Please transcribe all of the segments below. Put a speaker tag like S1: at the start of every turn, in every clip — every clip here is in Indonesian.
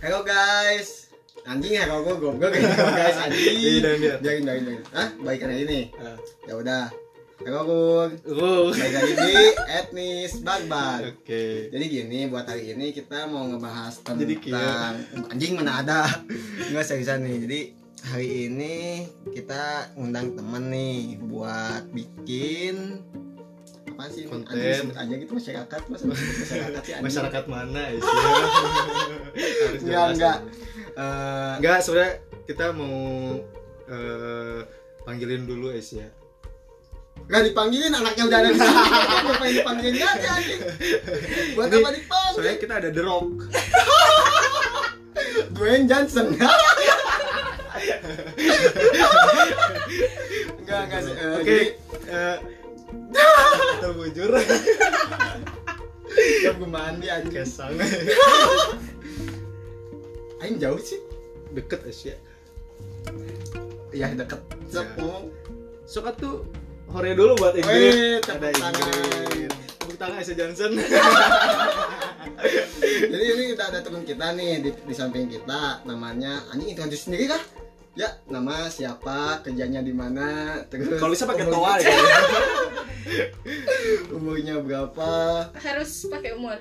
S1: Hello guys. Anjing ya kalau gue goblok ya hello guys anjing.
S2: Iya, iya.
S1: Biarin biarin biarin. Hah? Baikan aja nih.
S2: Ah.
S1: Ya udah. Hello Gun.
S2: Wow.
S1: Baikan ini etnis Bagban.
S2: Oke.
S1: Jadi gini buat hari ini kita mau ngebahas tentang
S2: Jadi kia.
S1: anjing mana ada. Enggak seriusan nih. Jadi hari ini kita ngundang temen nih buat bikin apa sih
S2: Konten.
S1: anjing sebut aja gitu masyarakat masa sebut masyarakat sih anjing.
S2: Masyarakat mana sih? Harus
S1: Enggak,
S2: jelas.
S1: enggak. Eh,
S2: Enggak, sebenarnya kita mau eh, panggilin dulu es ya.
S1: Gak dipanggilin anaknya udah ada di sini. Apa yang dipanggilin gak ada anjing. Buat
S2: Ini-
S1: apa dipanggil?
S2: Soalnya kita ada The Rock.
S1: Dwayne Johnson. Enggak, enggak sih. Eh,
S2: Oke.
S1: jadi,
S2: eh, Kita bujur.
S1: siap gue mandi aja.
S2: Kesang.
S1: Aing jauh sih.
S2: Deket es ya.
S1: Iya deket. Sepung.
S2: Sokat tuh hore dulu buat
S1: Wih,
S2: Inggris.
S1: tepuk
S2: Ada
S1: tangan.
S2: Inggris. Tepuk tangan Esya Johnson.
S1: Jadi ini kita ada teman kita nih di, di samping kita. Namanya anjing itu sendiri kah? Ya, nama siapa, kerjanya di mana, terus
S2: Kalau bisa pakai
S1: umurnya-
S2: toa ya.
S1: umurnya berapa
S3: harus pakai umur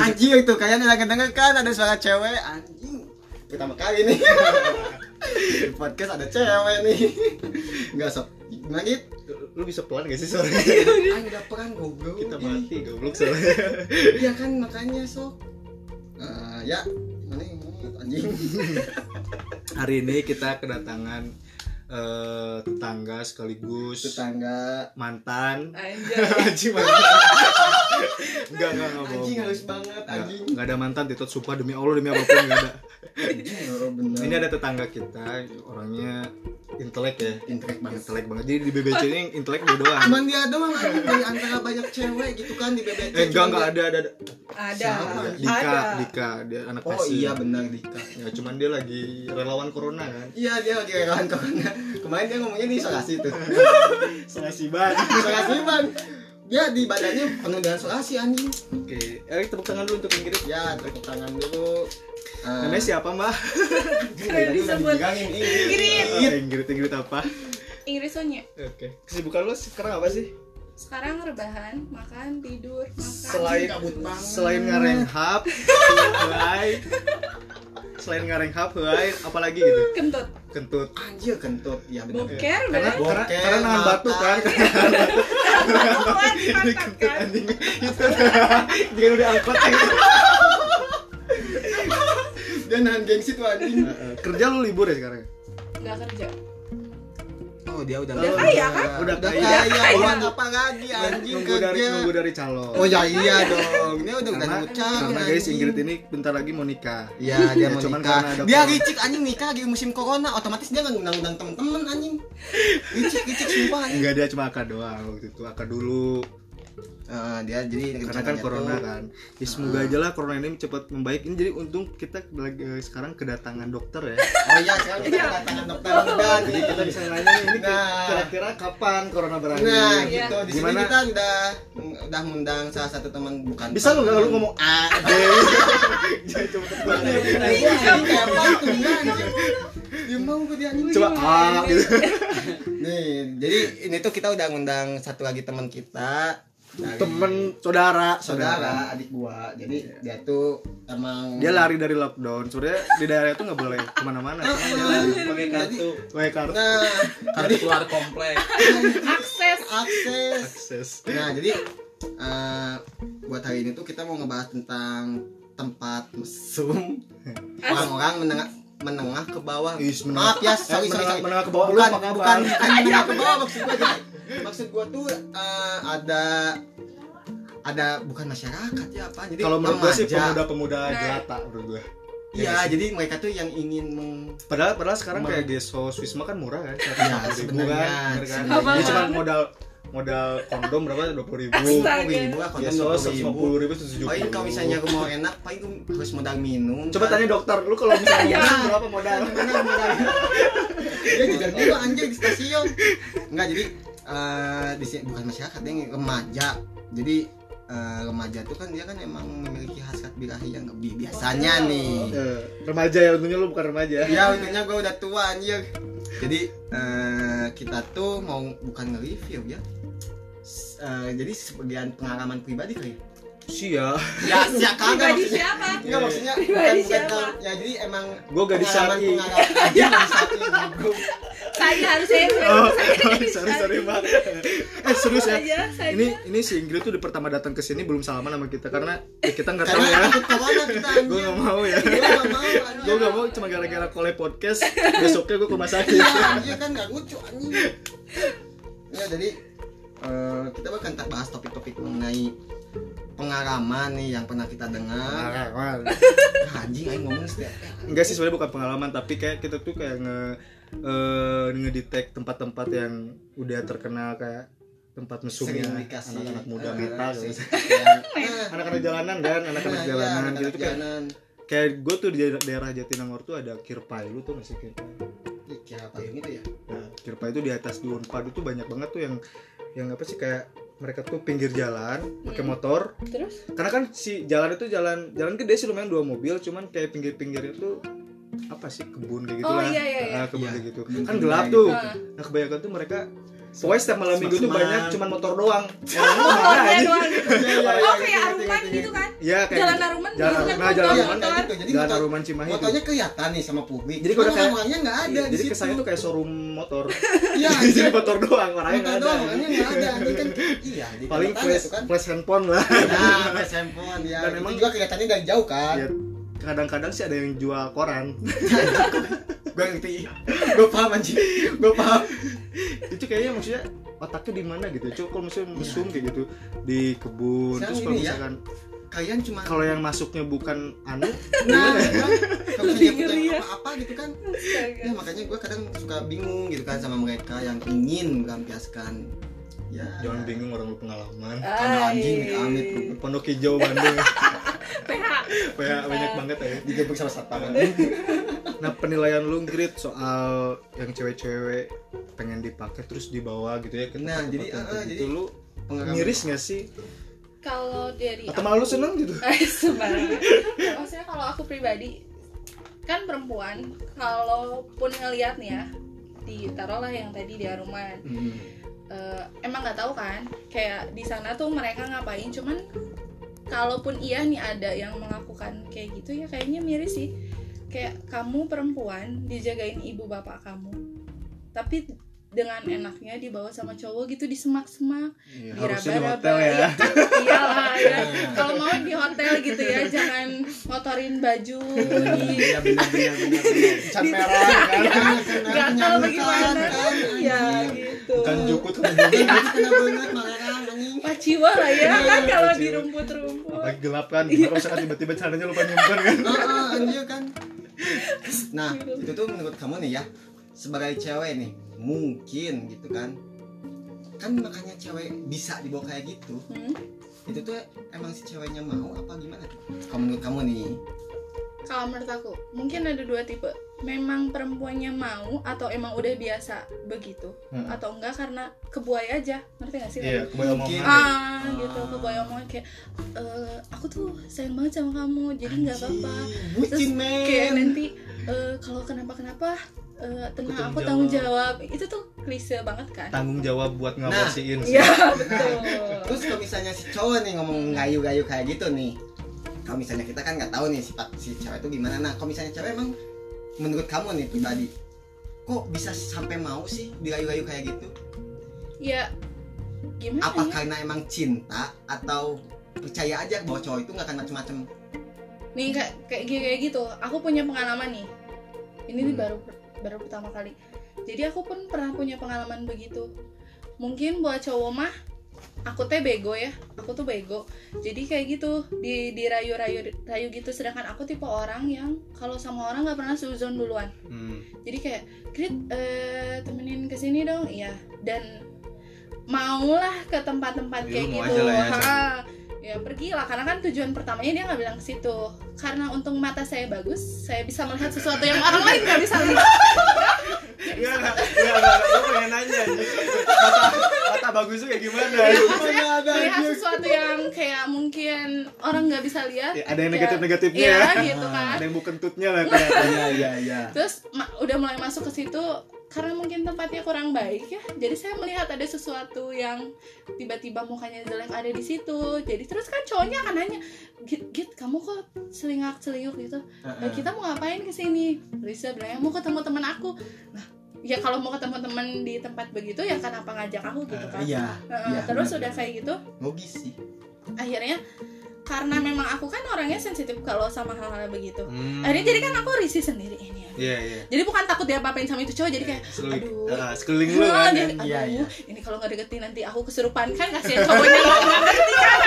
S1: anjing itu kalian udah denger kan ada suara cewek anjing pertama kali nih di podcast ada cewek nih nggak sok gimana gitu
S2: Lu bisa pelan gak sih suaranya?
S1: anjing udah perang goblok
S2: Kita
S1: Ih,
S2: mati goblok soalnya.
S1: iya kan makanya sok Eh, ya mana yang ngomong anjing
S2: Hari ini kita kedatangan eh, tetangga sekaligus
S1: tetangga
S2: mantan.
S3: aja
S2: Anjing mantan. Enggak enggak enggak bohong.
S1: anjing halus banget
S2: Enggak,
S1: anjing
S2: enggak ada mantan Titot sumpah demi Allah demi apapun enggak ada.
S1: Anjing, loro bener
S2: Ini ada tetangga kita orangnya intelek ya.
S1: intrek banget
S2: Intelek banget. Jadi di BBC ini yang intelek dia doang.
S1: cuman dia doang anjing, dari antara banyak cewek gitu kan di BBT
S2: Eh enggak
S1: cuman
S2: enggak
S1: dia-
S2: ada ada, ada.
S3: ada
S1: Siapa?
S2: Dika,
S3: ada
S2: Dika, dia anak
S1: Ya, oh
S2: pasir.
S1: iya benar Dika
S2: Ya cuman dia lagi relawan corona kan.
S1: Iya dia lagi relawan corona. Kemarin dia ngomongnya di isolasi itu.
S2: Selasi banget.
S1: Isolasi bang. Dia di badannya penuh dengan isolasi anjing.
S2: Oke, eh tepuk tangan dulu untuk Inggris.
S1: Ya tepuk tangan dulu. Eh,
S2: Namanya siapa, Mbak?
S1: anjing, dari tadi udah
S3: Disebut.
S1: dibilangin, iya. ih.
S2: Inggris. Inggris, Inggris Iya. apa?
S3: Inggris soalnya
S2: Oke. Kesibukan lo sekarang apa sih?
S3: sekarang rebahan makan tidur makan
S2: Selain
S1: kabut banget.
S2: selain ngareng hap, heai. Selain ngareng hap, heai, apalagi gitu.
S3: kentut
S2: Kentut.
S1: Anjir kentut. Ya benar.
S3: boker
S2: Iya. Karena
S3: bener
S2: karena,
S1: Bokeh,
S2: karena nahan batu kan.
S1: makan.
S3: Apaan
S2: Ini
S3: dimakan
S2: kentut
S3: kan
S2: anjing. Itu. Jangan udah angkat.
S1: Dia nahan gengsi tuh anjing.
S2: Kerja lu libur ya sekarang?
S3: nggak kerja
S1: Oh dia udah.
S2: Udah
S3: kaya kan?
S1: Udah
S2: Udah
S1: kaya.
S2: kaya.
S1: Buat apa lagi anjing
S2: Nunggu dari
S1: kerja?
S2: nunggu dari calon.
S1: Oh ya iya dong. Dia udah udah
S2: Karena,
S1: ngucap.
S2: karena
S1: ya,
S2: guys
S1: anjing.
S2: Inggris ini bentar lagi mau nikah.
S1: Iya
S2: Ya,
S1: dia mau
S2: cuman
S1: nikah.
S2: karena ada
S1: Dia
S2: corona.
S1: licik anjing nikah lagi musim corona, otomatis dia nggak ngundang-undang temen-temen anjing. Licik licik sumpah anjing.
S2: Enggak dia cuma akad doang waktu itu akad dulu
S1: Eh, dia jadi
S2: karena kan
S1: rencananya
S2: corona
S1: tuh-
S2: kan. Ya semoga aja lah corona ini cepat membaik. Ini jadi untung kita lagi eh, sekarang kedatangan dokter ya.
S1: Oh iya, sekarang kita kedatangan dokter muda
S2: Jadi
S1: nih.
S2: kita bisa nanya ini ke-
S1: Nah.
S2: kira-kira kapan corona berakhir.
S1: Nah,
S3: Iya.
S1: gitu. Di sini
S2: Gimana?
S1: kita udah udah mengundang salah satu teman bukan.
S2: Bisa lu
S1: teman.
S2: nggak lu ngomong "Ah." A B? Jangan coba terbang.
S1: Iya, anjing, kayak apa itu? Iya, anjing. Ya mau gue dia anjing.
S2: Coba A gitu.
S1: Nih, jadi ini tuh kita udah ngundang satu lagi teman kita. dari
S2: Temen saudara,
S1: saudara adik gua. Jadi dia tuh emang
S2: Dia lari dari lockdown. Sebenarnya di daerah itu nggak boleh kemana-mana.
S4: pakai kartu
S2: Pakai kartu
S1: Nah,
S4: kartu keluar komplek
S3: akses
S1: akses.
S2: akses.
S1: Nah, jadi eh, buat hari ini tuh kita mau ngebahas tentang tempat mesum orang-orang menengah menengah ke bawah.
S2: Is, menengah-
S1: Maaf ya,
S2: Eh,
S1: sorry sorry.
S2: menengah-
S1: sorry.
S2: menengah ke bawah Iya, lu
S1: bukan,
S2: apa kabar?
S1: bukan, bukan menengah ke bawah maksud gua. jadi maksud gua tuh eh, ada ada bukan masyarakat ya apa jadi
S2: Kalau menurut gue sih
S1: remaja.
S2: pemuda-pemuda
S3: Nah.
S2: jelata menurut gue.
S1: iya jadi mereka tuh yang ingin meng
S2: Padahal padahal sekarang
S1: Emang.
S2: kayak Gesos Wisma kan murah kan?
S1: Iya, sebenarnya,
S2: kan.
S3: sebenarnya.
S2: Dia cuma modal modal kondom berapa? 20 ribu.
S3: Astaga.
S1: ribu lah kondom
S2: Gesos
S1: 20.000.
S2: 150 ribu 170
S1: Paling kalau misalnya mau enak, paling harus modal minum. kan.
S2: Coba tanya dokter, lu kalau misalnya
S1: Iya.
S2: mau berapa modal?
S1: Bener, bener. dia juga dulu anjir di stasiun nggak jadi eh, di sini bukan masyarakat dia remaja jadi eh, remaja tuh kan dia kan emang memiliki hasrat birahi yang lebih biasanya nih
S2: Eh, remaja ya untungnya lu bukan remaja
S1: ya untungnya gue udah tua anjir jadi eh, kita tuh mau bukan nge-review ya S- eh, jadi sebagian pengalaman pribadi kali ya?
S2: sih ya
S1: ya siapa kagak maksudnya
S3: Pribadi siapa?
S1: Enggak maksudnya bukan,
S3: Pribadi
S1: bukan
S3: siapa?
S1: kalau- ya jadi emang
S2: gue gadis
S1: pengalaman
S2: syari
S1: pengalaman aja gadis syari bro.
S3: Saya harus saya
S2: oh
S3: saya-
S2: sorry sorry mbak eh serius ya
S3: Saya, saya.
S2: ini ini si Ingrid tuh udah pertama datang ke sini belum salaman sama kita karena ya, kita nggak tahu
S1: karena
S2: ya
S1: takut corona kita anjir
S2: gue nggak mau ya
S1: gue gak mau anjir.
S2: gue nggak mau cuma gara-gara kole podcast besoknya gue ke rumah sakit
S1: Iya, anjir kan gak lucu anjing. Ya jadi eh, kita bakal tak bahas topik-topik mengenai pengalaman nih yang pernah kita dengar. Nah, anjing aing ngomong setiap.
S2: enggak sih sebenarnya bukan pengalaman tapi kayak kita tuh kayak nge eh, ngedetect tempat-tempat yang udah terkenal kayak tempat mesumnya
S1: Sering dikasih
S2: anak-anak muda
S1: eh,
S2: metal
S1: sering-
S2: gitu.
S1: Nah,
S2: anak-anak jalanan kan anak-anak
S1: nah, iya,
S2: jalanan
S1: anak-anak
S2: gitu tuh kayak
S1: jalanan.
S2: kayak gue tuh di daerah, daerah Jatinangor tuh ada kirpai lu tuh masih kirpai
S1: Ih, kira apa ini tuh ya?
S2: nah, kirpai itu di atas daun padu tuh banyak banget tuh yang yang apa sih kayak mereka tuh pinggir jalan
S1: Iya.
S2: pakai
S3: Hmm.
S2: motor
S3: Terus?
S2: karena kan si jalan itu jalan jalan gede sih lumayan dua mobil cuman kayak pinggir-pinggir itu apa sih kebun kayak gitu
S3: Oh,
S2: lah
S3: iya, iya, iya.
S2: Ah, kebun
S1: Iya,
S2: kayak gitu
S1: kebun
S2: kan
S1: kebun
S2: gelap
S1: kayak
S2: tuh
S3: Nah,
S2: nah kebanyakan tuh mereka pokoknya setiap malam minggu tuh
S1: Semak-semak.
S2: banyak cuman motor doang orang tuh
S3: Oh,
S2: mana
S3: dia
S2: aja
S3: doang gitu.
S1: iya,
S3: Oh,
S1: iya,
S3: kayak
S1: iya,
S3: Aruman
S1: iya, iya,
S3: gitu kan?
S2: ya kayak
S3: Jalan Aruman
S2: Jalan
S3: gitu kan?
S2: Aruman, jalan
S1: Iya, kayak
S2: Aruman
S3: motor- motor.
S1: gitu. Jadi
S2: jalan
S1: motor-
S2: Aruman Cimahi tuh.
S1: motornya kelihatan nih sama publik.
S2: Jadi
S1: Cuman
S2: kadang-kadang-
S1: orangnya nggak ada
S2: Iya,
S1: di
S2: jadi
S1: situ.
S2: kesannya tuh kayak showroom motor
S1: Iya, anjir.
S2: jadi motor doang orangnya
S1: Motor
S2: nggak ada
S1: doang, orangnya nggak ada. Anjing kan iya, jadi
S2: paling
S1: kelihatan
S2: flash
S1: tuh kan.
S2: flash handphone lah
S1: Nah, flash handphone ya.
S2: Dan
S1: Itu
S2: emang-
S1: juga kelihatannya dari jauh kan.
S2: Ya, kadang-kadang sih ada yang jual koran
S1: gue ngerti gue paham anjing gue paham
S2: itu kayaknya maksudnya otaknya di mana gitu coba kalau misalnya mesum kayak gitu di kebun
S1: Iya. Sekarang
S2: terus kalau
S1: gini ya.
S2: misalkan
S1: kalian cuma
S2: kalau yang masuknya bukan anu
S1: nah kalau
S3: Lebih
S1: dia
S3: ngeri ya.
S1: apa apa gitu kan
S3: Astaga.
S1: ya makanya gue kadang suka bingung gitu kan sama mereka yang ingin melampiaskan ya
S2: jangan bingung orang berpengalaman
S1: Karena anjing gitu, amit lu.
S2: Pondok Hijau Bandung
S3: PH.
S2: banyak banyak banget ya
S1: digebuk sama satpam
S2: nah penilaian lu Grit soal yang cewek-cewek pengen dipakai terus dibawa gitu ya ke
S1: Nah,
S2: tempat-tempat
S1: jadi,
S2: yang
S1: ah, ah,
S2: gitu
S1: jadi
S2: lu
S1: Pengalaman.
S2: ngiris gak sih
S3: Kalau dari
S2: atau malu seneng gitu
S3: Eh, sembarangan. Ya, maksudnya kalau aku pribadi kan perempuan kalaupun ngelihat nih ya ditaruhlah yang tadi di Aruman
S1: Hmm.
S3: Eh, emang nggak tahu kan kayak di sana tuh mereka ngapain cuman kalaupun iya nih ada yang melakukan kayak gitu ya kayaknya miris sih kayak kamu perempuan dijagain ibu bapak kamu tapi dengan enaknya dibawa sama cowok gitu disemak-semak
S2: Iya, harusnya di
S3: diraba-raba
S2: hotel ya
S3: Iya kan? iyalah ya kalau mau di hotel gitu ya jangan motorin baju di
S1: Iya benar benar benar benar. Cat merah kan.
S3: gatal bagaimana
S1: Iya.
S3: ya gitu
S2: bukan jukut kan
S1: Kena banget marah anjing.
S3: paciwa lah ya kan kalau di
S2: Paciwa.
S3: rumput-rumput
S2: Iya, apalagi gelap kan gimana kalau misalkan tiba-tiba caranya lupa nyimpen kan
S1: Heeh, anjir kan. Nah, itu tuh menurut kamu nih ya, sebagai cewek nih, mungkin gitu kan. Kan makanya cewek bisa dibawa kayak gitu.
S3: Hmm.
S1: Itu tuh emang si ceweknya mau apa gimana? Kamu menurut kamu nih.
S3: kalau menurut aku mungkin ada dua tipe memang perempuannya mau atau emang udah biasa begitu
S2: Hmm.
S3: atau enggak karena kebuai aja ngerti gak sih
S2: iya kebayang omongan
S3: ah gitu
S1: Ah.
S3: kebuai omongan kayak "Eh, aku tuh sayang banget sama kamu jadi Ya, nggak apa-apa
S1: Anjing,
S3: Terus
S1: Bucin
S3: kayak
S1: men.
S3: nanti eh, kalau kenapa-kenapa eh,
S2: Aku
S3: tenang Iya. aku tanggung
S2: tanggung
S3: jawab itu tuh klise banget kan
S2: tanggung jawab buat ngawasiin sih.
S3: iya betul
S1: Terus kalau misalnya si cowok nih ngomong gayu-gayu kayak gitu nih. Kalau misalnya kita kan nggak tahu nih sifat si cewek itu gimana. Nah, kalau misalnya cewek emang menurut kamu nih pribadi kok bisa sampai mau sih digayu-gayu kayak gitu?
S3: ya gimana
S1: apa
S3: ya?
S1: karena emang cinta atau percaya aja bahwa cowok itu nggak akan macem-macem
S3: Iya. nih kayak kayak gi- kayak gitu aku punya pengalaman nih ini nih
S1: Hmm.
S3: baru baru pertama kali jadi aku pun pernah punya pengalaman begitu mungkin buat cowok mah aku teh bego ya aku tuh bego jadi kayak gitu di dirayu-rayu rayu gitu sedangkan aku tipe orang yang kalau sama orang nggak pernah suzon duluan
S2: Hmm.
S3: jadi kayak Krit eh, temenin kesini dong iya dan maulah ke tempat-tempat
S2: Ya,
S3: kayak
S2: lu mau
S3: gitu
S2: aja lah ya,
S3: Ha,
S2: Chan.
S3: ya pergilah karena kan tujuan pertamanya dia nggak bilang ke situ karena untung mata saya bagus saya bisa melihat sesuatu yang orang lain nggak bisa lihat
S2: Enggak, enggak, enggak, enggak, gue pengen nanya anjing. Mata, mata bagus tuh kayak gimana?
S3: Iya.
S1: Mana ada
S3: melihat
S1: anjing?
S3: sesuatu yang kayak mungkin orang nggak bisa lihat
S2: Ya, ada yang
S3: kayak-
S2: negatif-negatifnya
S3: iya
S2: ya.
S3: gitu kan
S2: Ada yang bukentutnya lah kelihatannya.
S1: Iya iya iya.
S3: terus ma- udah mulai masuk ke situ karena mungkin tempatnya kurang baik ya jadi saya melihat ada sesuatu yang tiba-tiba mukanya jelek ada di situ jadi terus kan cowoknya akan nanya git git kamu kok selingak selinguk gitu
S1: Hmm.
S3: "Eh, kita mau ngapain ke sini Risa bilangnya "Ya, mau ketemu teman aku nah ya kalau mau ketemu teman di tempat begitu ya kenapa ngajak aku gitu kan
S1: Iya.
S3: Heeh,
S1: iya,
S3: terus
S1: benar.
S3: udah kayak gitu
S1: logis sih.
S3: akhirnya karena memang aku kan orangnya sensitif kalau sama hal-hal begitu
S2: Hmm.
S3: akhirnya jadi kan aku risih sendiri ini
S2: Iya, iya.
S3: jadi bukan takut diapa-apain sama itu cowok jadi kayak
S2: Sekeliling,
S3: Iya. Aduh.
S2: Ah, sekeliling lu kan.
S3: "Ah, dia-
S2: yang-
S3: aduh,
S1: Iya, iya.
S3: ini kalau nggak deketin nanti aku kesurupan kan kasihan cowoknya nggak nggak ngerti kan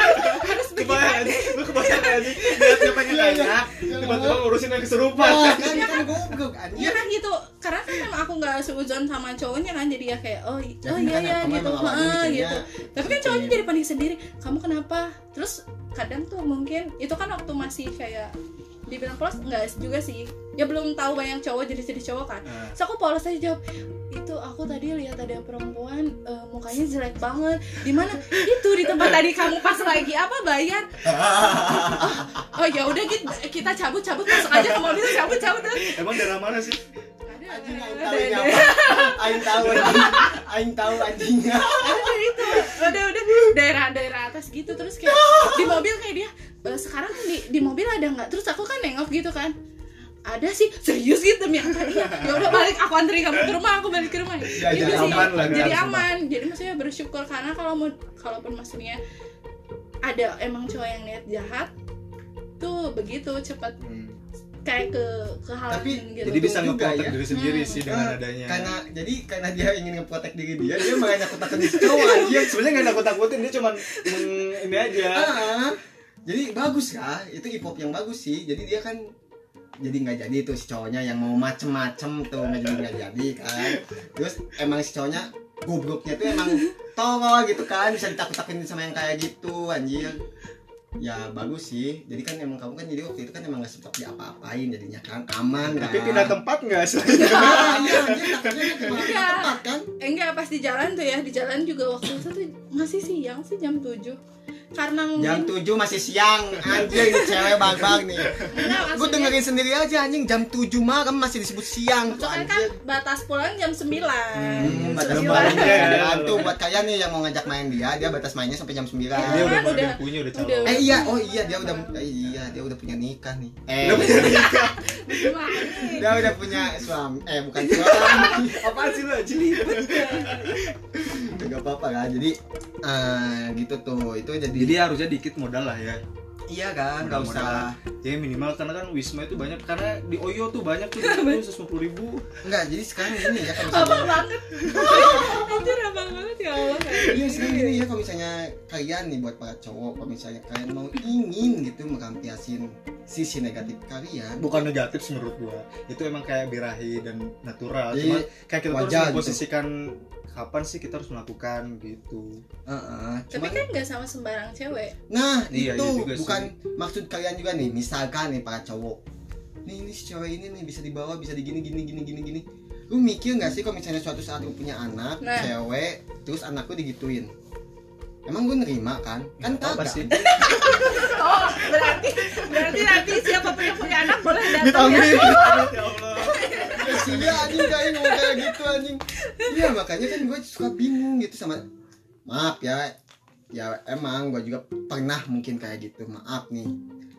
S3: harus
S2: Kebayang
S3: begini
S2: aja, lu kebayang aja. Lihatnya pengen nanya, tiba-tiba ngurusin yang keserupan.
S1: Wah, kan kan goblok
S3: ya
S1: anjir.
S3: Iya kan gitu karena kan memang aku nggak seuzon sama cowoknya kan jadi ya kayak oh, i-
S1: Ya,
S3: oh
S1: kan
S3: iya
S1: kan
S3: iya
S1: kamu
S3: gitu
S1: emang awalnya
S3: Heeh,
S1: mikirnya
S3: gitu tapi kan cowoknya jadi panik sendiri kamu kenapa terus kadang tuh mungkin itu kan waktu masih kayak dibilang polos nggak juga sih ya belum tahu banyak cowok jadi jadi cowok kan
S2: Ah.
S3: Terus aku polos aja jawab itu aku tadi lihat ada perempuan eh, mukanya jelek banget di mana itu di tempat tadi kamu pas lagi apa bayar oh, oh ya udah gitu kita cabut cabut masuk aja ke mobil cabut cabut terus
S2: Emang daerah mana sih?
S3: ada
S1: Anjing aing
S3: ada
S1: tahu ini
S3: ada-
S1: apa. Aing tahu anjing. Aing tahu anjing.
S3: Iya ada itu udah udah daerah-daerah atas gitu terus kayak di mobil kayak dia "E, sekarang di di mobil ada nggak terus aku kan nengok gitu kan ada sih serius gitu demi apa iya ya udah balik aku anterin kamu ke rumah aku balik ke rumah
S1: Ya,
S3: Gitu
S1: jadi
S3: sih.
S1: aman lah,
S3: jadi
S2: jangan
S3: aman jadi maksudnya bersyukur karena kalau mau kalaupun maksudnya ada emang cowok yang niat jahat tuh begitu cepat kayak ke ke hal
S1: Tapi,
S3: gitu
S2: Hmm. Jadi bisa
S1: Juga
S2: ngeprotek
S1: ya.
S2: diri sendiri
S3: Hmm.
S2: sih dengan
S1: Eh,
S2: adanya.
S1: Karena jadi karena dia ingin ngeprotek diri dia, dia makanya takut takut cowok
S2: Iya,
S1: anjir.
S2: sebenarnya nggak nakut-nakutin dia cuman meng- ini aja.
S1: Ah, jadi bagus ya, itu hip hop yang bagus sih. Jadi dia kan jadi nggak jadi itu si cowoknya yang mau macem-macem tuh nggak jadi nggak jadi kan. Terus emang si cowoknya gobloknya tuh emang tolol gitu kan bisa ditakut-takutin sama yang kayak gitu anjir ya bagus sih jadi kan emang kamu kan jadi waktu itu kan emang nggak sempat diapa-apain jadinya kan aman kan
S2: Tapi pindah tempat nggak sih?
S1: Ah, iya anjir takutnya dia kemana
S3: Iya.
S1: tempat kan
S3: Eh, enggak pas di jalan tuh ya di jalan juga waktu itu tuh masih siang sih jam 7 karena
S1: jam
S3: mungkin
S1: 7 masih siang anjing cewek bang-bang nih
S3: enggak,
S1: gue
S3: maksudnya-
S1: dengerin sendiri aja anjing jam 7 malam masih disebut siang tuh
S3: Soalnya kan
S1: anjing
S3: batas pulang jam 9
S1: Hmm, batas
S2: Sembilan.
S1: mainnya jam
S2: Iya.
S1: sembilan tuh buat kalian nih yang mau ngajak main dia, dia batas mainnya sampai jam 9.
S2: Dia udah,
S3: Udah.
S2: udah punya udah calon.
S1: Eh iya, oh iya dia udah eh, iya dia udah punya nikah nih. Eh
S2: Udah punya nikah.
S1: dia udah punya suami. Eh bukan suami.
S2: Apaan sih lu anjing?
S1: Enggak apa-apa kan. Jadi eh gitu tuh. Itu jadi,
S2: Jadi harusnya dikit modal lah ya.
S1: iya kan, enggak usah.
S2: Ya minimal karena kan Wisma itu banyak karena di Oyo tuh banyak tuh seratus lima puluh ribu.
S1: Enggak, jadi sekarang gini ya kalau
S3: Abang
S1: misalnya
S3: banget Anjir abang banget ya Allah gitu
S1: Iya sekarang gini ya kalau misalnya kalian nih buat para cowok kalau misalnya kalian mau ingin gitu melampiaskan sisi negatif kalian
S2: Bukan negatif sih menurut gua. Itu emang kayak birahi dan natural.
S1: Jadi,
S2: Cuma kayak kita
S1: wajar
S2: tuh harus
S1: gitu.
S2: memposisikan kapan sih kita harus melakukan gitu.
S1: Heeh,
S3: Tapi kan gak sama sembarang cewek
S1: Nah,
S2: Iya,
S1: itu
S2: iya juga sih.
S1: bukan maksud kalian juga nih. Misalkan nih para cowok. Nih, ini si cewek ini nih bisa dibawa, bisa digini gini gini gini gini. Lu mikir nggak sih kalau misalnya suatu saat lu punya anak,
S3: Nah.
S1: cewek, terus anak lu digituin? Emang gue nerima kan? Kan
S2: Nggak apa-apa
S1: kagak.
S2: sih.
S3: Oh berarti Berarti nanti siapa yang punya anak boleh datang ya
S1: Vitamin.
S2: ya Allah.
S1: Iya anjing kayak mau kayak gitu anjing. Iya makanya kan gue suka bingung gitu sama maaf ya ya emang gue juga pernah mungkin kayak gitu maaf nih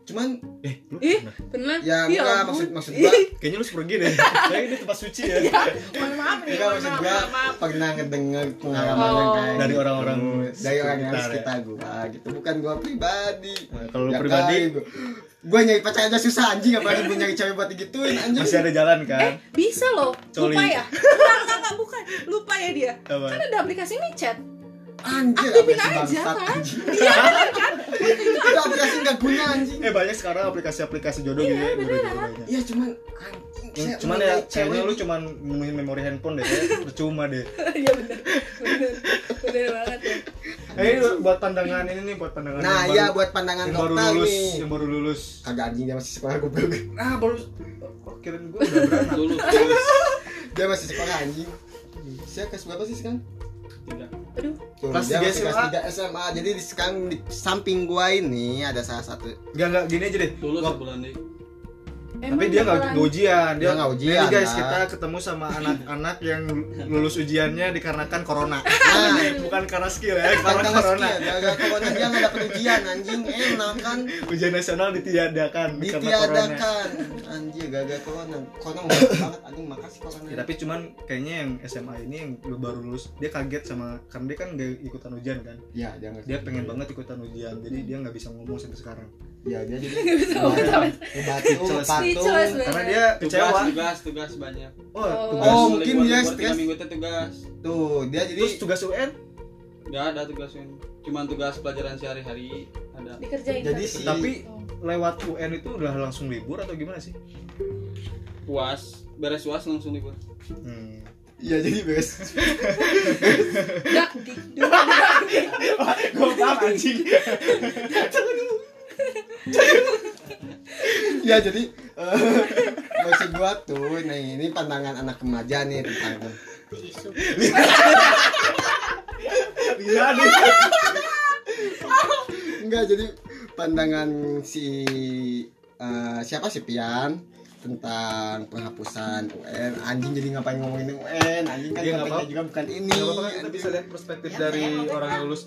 S1: cuman
S2: Eh, lu
S3: Ih.
S2: pernah?
S3: Bener
S1: ya, enggak,
S3: ampun.
S1: maksud maksud gue
S2: kayaknya lu pergi deh. Kayaknya ini tempat suci ya.
S3: Mohon maaf
S1: Enggak Ya,
S3: nih mohon
S1: maksud
S3: Iya, maaf,
S1: gua
S3: mohon maaf
S1: pernah ngedenger pengalaman yang
S3: Oh.
S1: kayak
S2: Dari
S1: gitu.
S2: orang-orang
S1: dari orang yang
S2: sekitar ya.
S1: sekitar gua gitu bukan gua pribadi
S2: Nah, kalau lu
S1: Ya
S2: pribadi
S1: kali gua, gua nyari pacar aja susah anjing apalagi gua nyari cewek buat digituin anjing
S2: masih ada jalan
S1: Eh?
S2: kan?
S3: Eh, Bisa loh
S2: Coli.
S3: Lupa ya Enggak enggak enggak bukan Lupa ya dia
S2: Apa?
S3: Kan ada aplikasi micet
S1: anjir
S3: Aktifin
S1: aplikasi
S3: aja
S1: bangsat,
S3: kan
S1: anjing.
S3: Iya bener kan
S1: itu aplikasi nggak guna anjing
S2: Eh banyak sekarang aplikasi-aplikasi jodoh gitu ya. jodoh-jodohnya.
S1: iya cuman anjing saya
S2: Yang- Cuman
S1: mengenai
S2: ya kayaknya lu cuman menuhin memori handphone deh, kayak percuma deh.
S3: Iya bener Bener Bener banget ya
S2: Eh ini buat pandangan ini nih buat pandangan.
S1: nah
S2: yang
S1: iya
S2: baru-
S1: buat pandangan
S2: yang baru
S1: dokter
S2: lulus,
S1: nih
S2: yang baru lulus.
S1: kagak anjing dia masih sekolah gue
S2: Ah baru, oh kirain gue udah beranak.
S4: dulu
S1: dia masih sekolah anjing saya kelas berapa sih sekarang
S4: tiga
S3: aduh
S2: Kelas
S1: Dia
S2: tiga
S1: masih kelas
S2: SMA.
S1: tiga SMA. Jadi di sekarang di samping gua ini ada salah satu.
S2: Enggak enggak gini aja deh.
S4: Dulu
S2: Wak-
S4: sebulan nih.
S2: tapi dia nggak
S3: beneran.
S2: nggak ujian dia
S1: Dia nggak ujian, kan?
S2: Ini guys
S1: lah.
S2: kita ketemu sama anak-anak yang lulus ujiannya dikarenakan corona
S1: Nah,
S2: bukan karena skill ya
S1: bukan
S2: karena
S1: karena
S2: Ah, corona
S1: skill, gara-gara corona dia nggak dapet ujian anjing enak kan
S2: ujian nasional ditiadakan karena corona
S1: ditiadakan anjir gara-gara corona corona nggak banget anjing makasih corona
S2: Ya, tapi cuman kayaknya yang SMA ini yang baru lulus dia kaget sama karena dia kan nggak ikutan ujian kan
S1: ya dia nggak
S2: dia pengen banget ikutan ujian jadi dia nggak bisa ngomong sampai sekarang
S1: ya dia jadi
S3: Nggak bisa ngomong sama
S1: batu patung
S2: Speechless.
S3: Speechless, Bener.
S2: karena dia
S4: Tugas,
S2: kecewa
S4: tugas, tugas banyak.
S2: oh
S3: Oh.
S2: tugas
S1: Oh,
S4: Tugas,
S1: mungkin dia
S4: libur- libur tiga
S1: stres.
S4: minggu itu tugas.
S1: tuh dia jadi
S2: terus tugas UN
S4: Gak ada tugasnya. Cuman tugas pelajaran sehari-hari ada.
S3: dikerjain
S1: jadi
S3: kan?
S1: si
S2: tapi
S3: Oh.
S2: lewat UN itu udah langsung libur atau gimana sih
S4: Puas, beres puas langsung libur.
S2: hmm.
S1: ya jadi bes
S3: dak dikduk
S2: gue paham anjing
S1: ya jadi eh, maksud gua tuh nih ini pandangan anak remaja nih tentang
S2: Iya nih.
S1: Enggak, jadi pandangan si eh, siapa sih Pian tentang penghapusan UN anjing jadi ngapain ngomongin UN anjing kan
S2: Iya, nggak
S1: kontennya
S2: apa-apa.
S1: juga bukan ini
S2: Gak apa-apa kan kita bisa lihat perspektif
S5: Ya,
S2: dari
S5: saya mau
S2: orang
S5: tanya.
S2: yang lulus.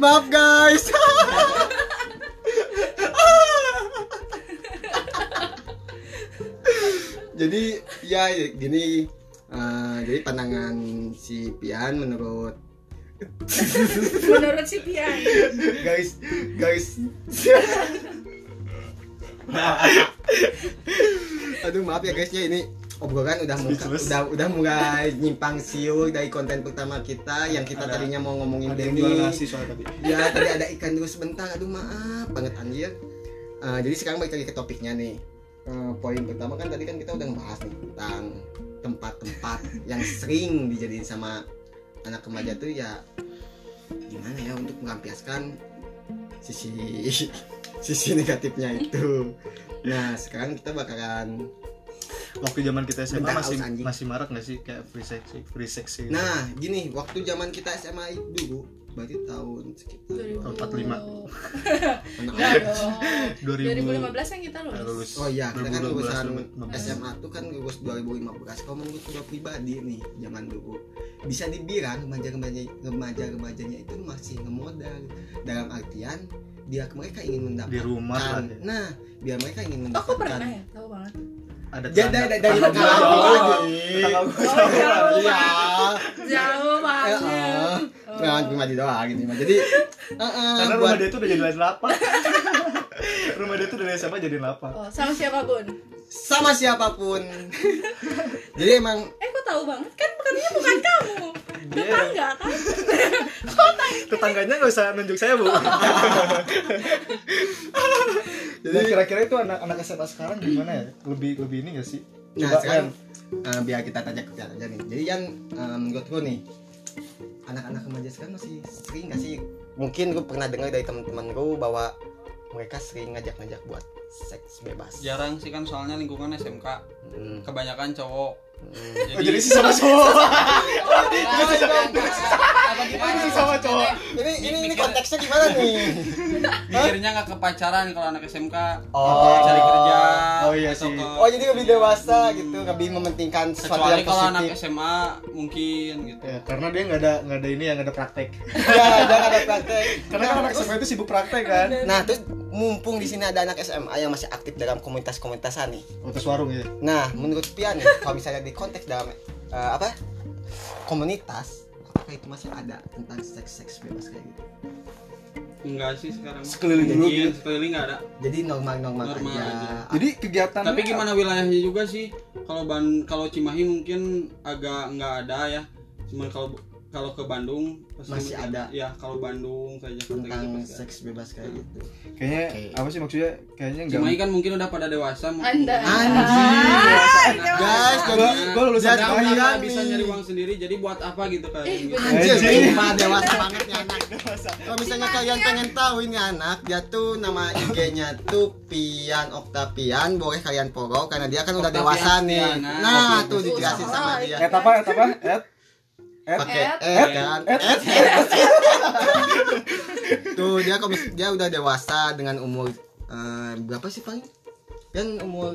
S1: maaf guys jadi ya gini eh, jadi pandangan si Pian menurut
S3: menurut si Pian
S1: guys guys aduh maaf ya guys ya ini obrolan udah muka,
S2: Speechless.
S1: udah udah mulai nyimpang siur dari konten pertama kita yang kita
S2: Ada-
S1: tadinya mau ngomongin
S2: Ada yang
S1: Denny
S2: jual nasi soal tadi.
S1: ya tadi ada ikan dulu sebentar aduh maaf banget anjir Eh, jadi sekarang balik lagi ke topiknya nih Eh, poin pertama kan tadi kan kita udah ngebahas nih tentang tempat-tempat yang sering dijadiin sama anak remaja tuh ya gimana ya untuk melampiaskan sisi sisi negatifnya itu nah sekarang kita bakalan
S2: Waktu zaman kita SMA
S1: Bentar,
S2: masih
S1: aus anjing.
S2: masih marak gak sih kayak free sex free sex gitu.
S1: nah gini waktu zaman kita SMA dulu berarti tahun sekitar
S2: 45.
S3: Enggak Iya
S2: 2000
S3: dong. 2015 kan kita lulus.
S2: lulus.
S1: Oh iya, kita kan
S2: 2012,
S1: lulusan
S2: 2015.
S1: SMA tuh kan lulus 2015. Kalau menurut gua pribadi nih, zaman dulu bisa dibilang remaja-remaja remaja-remajanya itu masih ngemodal dalam artian biar mereka ingin
S2: di
S1: mendapatkan.
S2: rumah lah ya.
S1: Nah, biar mereka ingin
S3: Oh, kok
S1: mendapatkan.
S3: pernah ya? Tahu banget.
S2: ada
S1: Jadi
S2: tangga-
S1: dari dari
S2: tangga
S1: pengalaman
S2: gua
S1: gua
S2: jauh.
S1: nih.
S2: Tangga gua
S3: Oh,
S2: jauh.
S3: jauh
S1: Iya.
S3: banget. Jauh
S1: Eh,
S3: banget.
S1: eh.
S3: Iya. Oh.
S1: Nah, cuma di doang gitu. Jadi, eh, eh,
S2: Karena rumah
S1: buat
S2: dia tuh udah jadi lapak. rumah dia tuh dari SMA jadi lapak.
S3: Oh, sama siapa, Bun?
S1: sama siapapun. Jadi emang
S3: Eh, kok tahu banget? Kan katanya bukan kamu.
S2: Iya.
S3: Tetangga kan?
S2: Tetangganya nggak usah nunjuk saya bu. Jadi Nah, kira-kira itu anak-anak SMA sekarang gimana ya? Lebih lebih ini gak sih?
S1: Nah
S2: Coba,
S1: sekarang eh, biar kita tanya ke Tian aja nih. Jadi yang eh, menurut gue nih anak-anak remaja sekarang masih sering gak sih? Mungkin gue pernah dengar dari teman-teman gue bahwa mereka sering ngajak-ngajak buat seks bebas.
S4: Jarang sih kan soalnya lingkungan SMK
S1: Hmm,
S4: kebanyakan cowok.
S1: hmm.
S2: Oh, jadi sih sama cowok.
S4: apa
S2: Jadi sih sama cowok.
S1: Ini ini ini
S4: Mikir-
S1: konteksnya gimana nih?
S4: Mikirnya nggak ke pacaran kalau anak SMK.
S1: Oh.
S4: cari kerja.
S2: Oh, iya
S4: atau
S2: sih.
S4: ke-
S1: Oh jadi lebih dewasa gitu, lebih mementingkan sesuatu
S4: Kecuali
S1: yang
S4: kalau anak
S1: positif.
S4: SMA mungkin gitu.
S2: Ya, karena dia nggak ada nggak ada ini yang nggak ada praktek.
S1: Ya, jangan ada praktek.
S2: Karena kan anak SMA itu sibuk praktek kan.
S1: Nah, terus mumpung di sini ada anak SMA yang masih aktif dalam komunitas-komunitasan nih.
S2: Terus warung ya.
S1: Nah, menurut Pian nih, kalau misalnya di konteks dalam eh, apa komunitas, apakah itu masih ada tentang seks seks bebas kayak gitu?
S4: Enggak sih sekarang.
S2: Sekeliling dulu
S4: Mungkin
S2: gitu.
S4: sekeliling nggak ada.
S1: Jadi normal normal,
S4: Normal
S1: aja.
S4: aja.
S2: Jadi kegiatan.
S4: Tapi gimana wilayahnya juga sih? Kalau ban kalau Cimahi mungkin agak nggak ada ya. Cuman kalau kalau ke Bandung pasti
S1: Masih
S4: mungkin-
S1: ada.
S4: ya kalau Bandung kayak Jakarta
S1: tentang
S4: gitu pasti
S1: seks bebas kayak gitu
S2: kayaknya
S1: Oke.
S2: apa sih maksudnya kayaknya
S4: ada.
S2: enggak
S4: Cimahi kan mungkin udah pada dewasa
S3: Anda.
S1: Anjing. Guys,
S2: gua, gua lulusan
S1: Jangan bilang
S2: Cimahi kan
S4: Nah, nggak bisa
S1: nih.
S4: nyari uang sendiri jadi buat apa gitu kan
S3: Ih,
S4: gitu.
S3: bener.
S1: Anjir,
S2: Anjing.
S1: sumpah dewasa banget nih anak Kalau misalnya kalian pengen tahu ini anak Dia tuh nama IG-nya tuh Pian Octavian Boleh kalian follow karena dia kan udah
S4: Octavian
S1: dewasa nih
S4: Piana.
S1: Nah tuh
S3: Tuh,
S1: dijelasin
S3: salah.
S1: sama dia
S2: et Eh, apa et apa et
S1: Pakai
S3: Ed.
S1: et
S4: Ed.
S1: kan Et, et, Tuh dia kalau mis- dia udah dewasa dengan umur eh, Berapa sih paling? Kan umur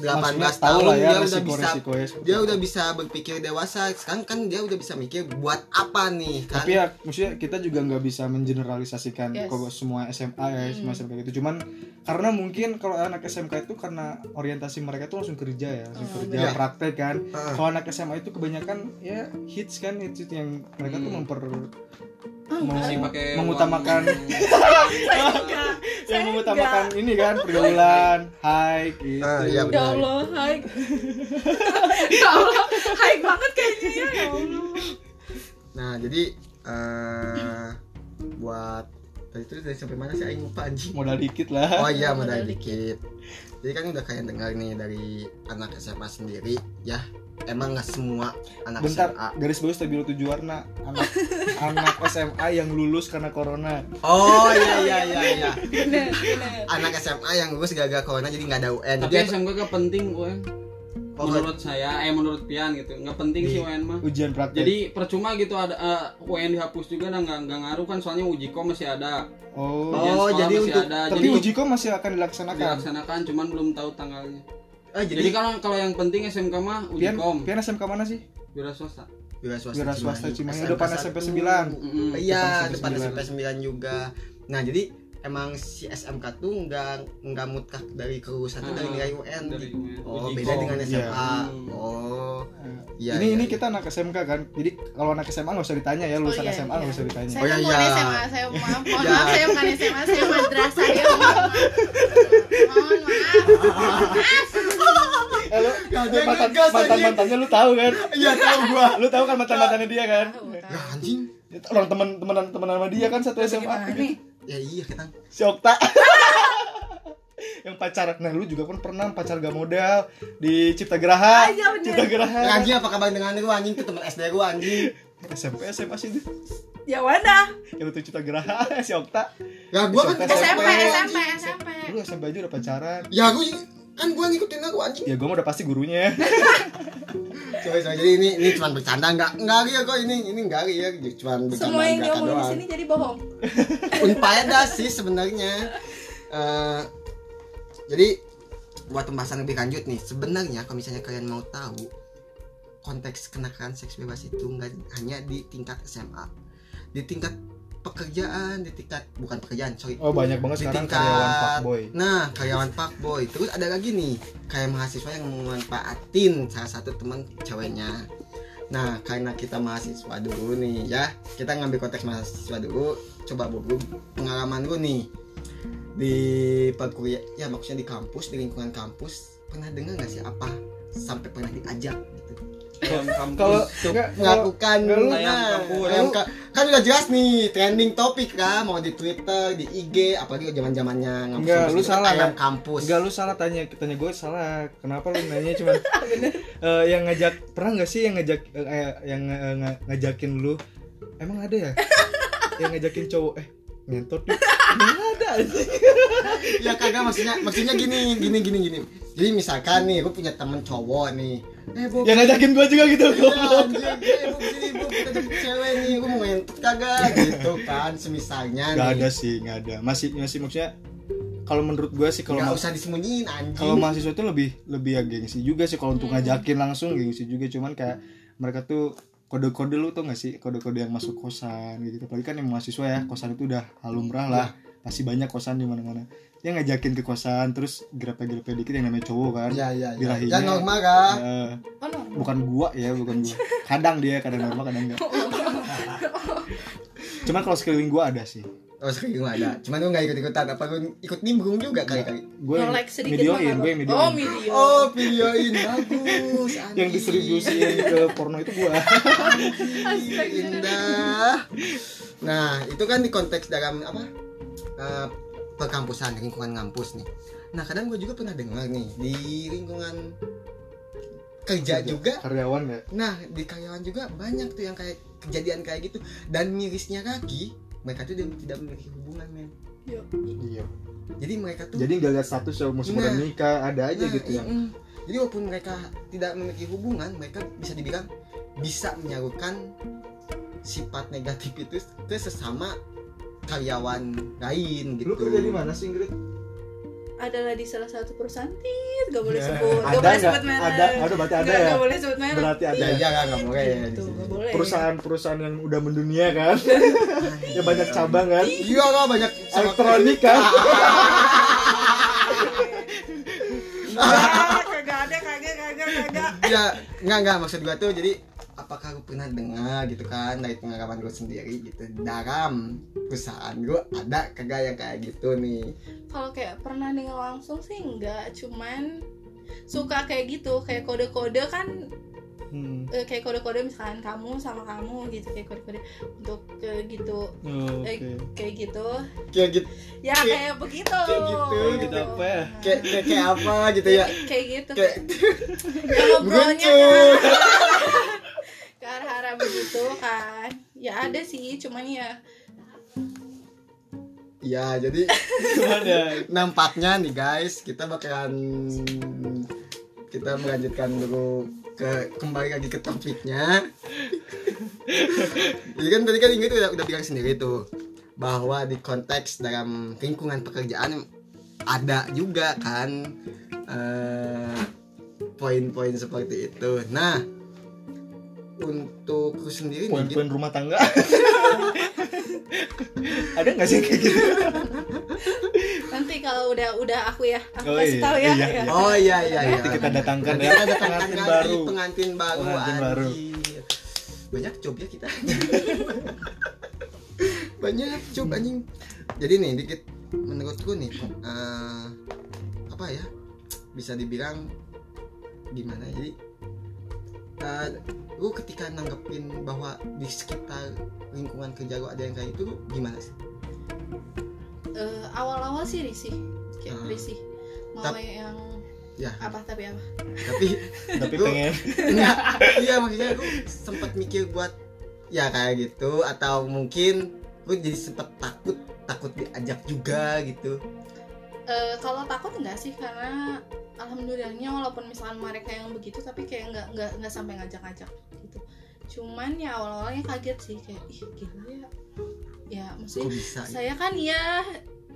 S1: 18
S2: Maksudnya tahu
S1: tahun
S2: lah ya
S1: dia udah
S2: resiko-
S1: bisa
S2: resikonya seperti
S1: dia
S2: apa.
S1: udah bisa berpikir dewasa sekarang kan dia udah bisa mikir buat apa nih kan
S2: tapi ya maksudnya kita juga nggak bisa mengeneralisasikan
S3: Yes.
S2: kok semua SMA ya
S3: Hmm.
S2: semua SMK gitu cuman karena mungkin kalau anak SMK itu karena orientasi mereka tuh langsung kerja ya langsung
S3: Oh,
S2: kerja
S1: bener.
S2: praktek kan
S1: iya. Heeh.
S2: kalau anak SMA itu kebanyakan ya hits kan hits itu yang mereka tuh
S4: Hmm.
S2: memper
S3: Oh,
S4: masih
S2: mau-
S4: pakai
S2: mengutamakan
S4: uang-
S2: yang mengutamakan ini kan pergaulan high gitu
S1: Ah, iya,
S3: Ya
S1: benar.
S3: Allah, hai. ya Allah, hai banget kayaknya ya. ya Allah.
S1: Nah, jadi eh buat tadi itu dari sampai mana sih aing lupa anjing.
S2: modal dikit lah
S1: Oh iya,
S3: Modal
S1: modal dikit. Jadi kan udah kalian dengar nih dari anak SMA sendiri ya. Emang nggak semua
S3: Ah,
S1: anak
S2: bentar
S1: SMA.
S2: garis bawah stabilo tujuh warna anak anak SMA yang lulus karena corona
S1: Oh iya iya iya iya.
S3: Bener, bener.
S1: Anak SMA yang lulus gara-gara corona jadi nggak ada UN.
S4: tapi
S1: Jadi
S4: SMK gak penting UN menurut saya eh menurut Pian gitu nggak penting sih
S2: Iya.
S4: UN mah
S2: ujian praktek
S4: jadi percuma gitu ada eh, UN dihapus juga nah, nggak nggak ngaruh kan soalnya uji kom masih ada
S2: oh
S4: ujian
S1: Oh,
S4: sekolah
S1: jadi
S4: masih
S1: untuk-
S4: ada
S2: tapi
S4: nah, jadi
S2: uji kom masih akan dilaksanakan
S4: dilaksanakan cuman belum tahu tanggalnya
S1: eh,
S4: jadi,
S2: kan
S4: kalau kalau yang penting SMK mah uji
S2: Pian,
S4: kom
S2: Pian SMK mana sih?
S4: wira swasta
S1: Wira
S2: Wira swasta Cimahi.
S1: SMK
S2: Udah pada
S1: satu.
S2: SMP 9.
S4: Mm-mm.
S1: Iya,
S2: Depan
S1: depan SMP
S2: SMP
S1: 9 juga. Nah, jadi emang si SMK tuh nggak nggak mutlak dari kelulusan tuh dari
S4: Ah,
S1: nilai UN.
S4: dari UN.
S1: Oh,
S4: Uji
S1: beda
S4: kom.
S1: dengan SMA.
S4: Iya.
S1: Oh. Iya.
S2: Mm.
S3: Ya,
S2: ini
S1: iya,
S2: ini
S1: iya.
S2: kita anak SMK kan. Jadi kalau anak SMA nggak usah ditanya ya, lulusan
S3: Oh, iya,
S2: SMA
S3: iya.
S2: nggak usah ditanya.
S1: Oh,
S3: Saya
S1: ya,
S3: kan
S1: ya.
S3: bukan SMA, saya maaf, mohon
S1: Ya.
S3: maaf, saya bukan SMA, saya madrasah ya. Mohon maaf. Mohon maaf.
S2: Eh, lu,
S1: Gak ada yang
S2: mantan
S1: ngegas,
S2: mantan
S1: anjing.
S2: mantannya lu tahu kan?
S1: Iya, tahu gua.
S2: Lu tahu kan mantan mantannya dia kan?
S3: Tahu, tahu.
S1: Lah anjing.
S2: Orang teman temenan temenan sama dia kan satu
S3: Gimana
S2: SMA.
S3: nih?
S1: Ya iya
S3: Kan.
S1: kita.
S2: Si Okta. yang pacar, nah lu juga pun pernah pacar gak modal di Cipta Geraha,
S3: Ah, iya, bener.
S2: Cipta Geraha,
S1: Eh, Anjing apa kabar dengan lu anjing ke teman SD gua anjing.
S2: SMP SMA sih itu,
S3: Ya mana?
S2: yang itu Cipta Geraha, si Okta,
S1: Ya gua kan
S2: SMP,
S3: SMP, SMP,
S1: anjing.
S3: SMP.
S2: lu SMP aja udah pacaran,
S1: Ya gua kan gua ngikutin aku anjing.
S2: ya gue udah pasti gurunya,
S1: Coba coba jadi ini ini cuma bercanda enggak enggak ya kok ini ini enggak ya cuma bercanda
S3: Semua yang
S1: enggak
S3: ngomong di sini jadi bohong.
S1: Unfaedah sih sebenarnya. Eh, jadi buat pembahasan lebih lanjut nih, sebenarnya kalau misalnya kalian mau tahu konteks kenakalan seks bebas itu nggak hanya di tingkat SMA, di tingkat pekerjaan, di tingkat bukan pekerjaan, sorry.
S2: oh banyak banget
S1: Di
S2: sekarang
S1: tingkat-
S2: karyawan fuckboy,
S1: Nah, karyawan fuckboy Terus ada lagi nih, kayak mahasiswa yang memanfaatin salah satu teman ceweknya. Nah, karena kita mahasiswa dulu nih ya, kita ngambil konteks mahasiswa dulu. Coba buku pengalaman lu nih di perkuliah, ya maksudnya di kampus, di lingkungan kampus, pernah dengar nggak sih apa sampai pernah diajak gitu?
S4: Dalam kampus
S2: kalau
S4: tuh.
S2: enggak kalau
S1: melakukan
S2: nggak lu-
S1: ayam
S4: Ayam kampus.
S1: ayam ka- kan udah jelas nih trending topik lah mau di Twitter di IG apalagi zaman zamannya
S2: Nggak, lu salah,
S1: ayam
S2: kan?
S1: kampus
S2: Enggak lu salah tanya, tanya gue salah. Kenapa lu nanya cuman eh, yang ngajak pernah nggak sih yang ngajak eh, eh, yang eh, nga- ngajakin lu? Emang ada ya? yang ngajakin cowok eh ngentot nih. Nggak ada sih.
S1: ya kagak maksudnya maksudnya gini gini gini gini jadi misalkan nih gue punya temen cowok nih eh bob
S2: Yang ngajakin gue juga gitu. goblok.
S1: anjir, eh, Bob, sini, Bob, kita dapet cewek nih gue mau ngentut kagak gitu kan semisalnya
S2: Nggak ada
S1: nih
S2: sih, nggak ada. Masih masih maksudnya kalau menurut gue sih kalau
S1: nggak
S2: ma-
S1: usah disembunyiin
S2: kalau
S1: anjing
S2: mahasiswa itu lebih lebih ya gengsi juga sih kalau untuk ngajakin langsung gengsi juga cuman kayak mereka tuh kode-kode lu tuh gak sih kode-kode yang masuk kosan gitu apalagi kan yang mahasiswa ya kosan itu udah halumrah lah pasti banyak kosan di mana-mana dia ngajakin ke kosan terus grepe-grepe dikit yang namanya cowok kan
S1: ya ya ya
S2: Birahinya.
S1: jangan normal kan
S2: Eh,
S3: Oh, no.
S2: bukan gua ya bukan gua kadang dia kadang normal kadang enggak cuman kalau sekeliling gua ada sih
S1: oh sekali gue ada cuman gue nggak ikut ikutan apa gue ikut nimbrung juga kali kali
S2: gue yang
S3: Nyolek sedikit
S2: videoin,
S3: mah
S2: gue
S3: nggak
S2: yang
S3: apa-apa. Oh,
S2: videoin.
S3: video.
S1: oh videoin bagus
S2: Iya. yang
S1: anjing.
S2: distribusiin ke porno itu gue
S1: Ih, indah nah itu kan di konteks dalam apa eh, perkampusan lingkungan kampus nih nah kadang gue juga pernah dengar nih di lingkungan kerja juga
S2: karyawan ya
S1: Nah, di karyawan juga banyak tuh yang kayak kejadian kayak gitu dan mirisnya kaki mereka tuh dia tidak memiliki hubungan men.
S2: iya
S1: Jadi mereka tuh
S2: jadi nggak lihat status ya musuh
S1: Nah.
S2: udah nikah ada aja
S1: Nah,
S2: gitu yang
S3: iya,
S1: mm-mm. Jadi walaupun mereka tidak memiliki hubungan, mereka bisa dibilang bisa menyalurkan sifat negatif itu ke sesama karyawan lain gitu.
S2: lu kerja di mana sih Ingrid
S3: adalah di salah satu perusahaan tit gak boleh
S1: Ya.
S2: Iya.
S3: sebut
S2: ada
S3: gak boleh
S2: nggak
S3: sebut merek
S2: ada ada berarti ada ya
S3: Nggak- nggak boleh Iya. sebut merek
S2: berarti ada
S1: Ya
S2: ya
S1: ya nggak boleh. ya, di
S3: Gitu,
S1: sini.
S3: nggak boleh
S2: perusahaan-perusahaan yang udah mendunia kan
S3: Iya.
S2: ya banyak cabang kan
S1: Iya lah banyak
S2: elektronik kan
S3: Iya. Ah, kagak ada kagak kagak kagak
S1: ya nggak nggak maksud gua tuh jadi apakah lu pernah dengar gitu kan dari pengalaman gua sendiri gitu dalam perusahaan gua ada kagak yang kayak gitu nih
S3: kalau kayak pernah dengar langsung sih enggak cuman suka kayak gitu kayak kode-kode kan
S2: Hmm.
S3: eh, kayak kode-kode misalkan kamu sama kamu gitu kayak kode-kode untuk eh, gitu
S2: Oh,
S3: Eh,
S2: oke.
S3: kayak gitu
S1: kayak gitu
S3: ya kayak begitu
S1: kayak gitu,
S4: gitu apa ya?
S3: Nah,
S1: kayak, kayak, kayak apa gitu ya
S3: kayak gitu
S1: kayak
S3: Ya, ngobrolnya ke
S1: Menggencet.
S3: arah- ke arah arah begitu kan ya ada sih cuman ya
S1: ya jadi
S4: Gimana?
S1: nampaknya nih guys kita bakalan kita melanjutkan dulu ke kembali lagi ke topiknya jadi kan tadi kan Ingrid udah, udah bilang sendiri tuh bahwa di konteks dalam lingkungan pekerjaan ada juga kan eh, poin-poin seperti itu nah untuk lu sendiri nih, Git,
S2: poin-poin rumah tangga ada nggak sih kayak gitu
S3: nanti kalau udah udah aku ya aku
S2: Oh,
S3: kasih
S2: iya,
S3: tahu
S2: iya,
S3: ya,
S2: iya.
S3: ya.
S1: oh iya iya iya
S2: nanti kita datangkan
S1: Nanti
S2: ya
S1: ada
S2: pengantin
S1: pengantin
S2: baru
S1: pengantin baru,
S2: Pengantin baru.
S1: anjir. Banyak job ya kita. Banyak job anjing. Jadi nih dikit menurutku nih eh, apa ya? Bisa dibilang gimana? Jadi eh, lu ketika nanggepin bahwa di sekitar lingkungan kerja lu ada yang kayak itu lu gimana sih?
S3: Eh, awal-awal sih risih kayak
S2: Ah.
S1: Hmm.
S3: risih mau
S1: Tap-
S3: yang
S1: Ya,
S3: apa tapi apa
S1: tapi
S2: tapi
S1: Lu-
S2: pengen
S1: Enggak, iya maksudnya gue sempat mikir buat ya kayak gitu atau mungkin gue jadi sempat takut takut diajak juga gitu
S3: Eh, kalau takut enggak sih karena alhamdulillahnya walaupun misalkan mereka yang begitu tapi kayak nggak nggak nggak sampai ngajak-ngajak gitu cuman ya awal-awalnya kaget sih kayak ih gila ya ya maksudnya
S1: kok bisa gitu.
S3: saya kan ya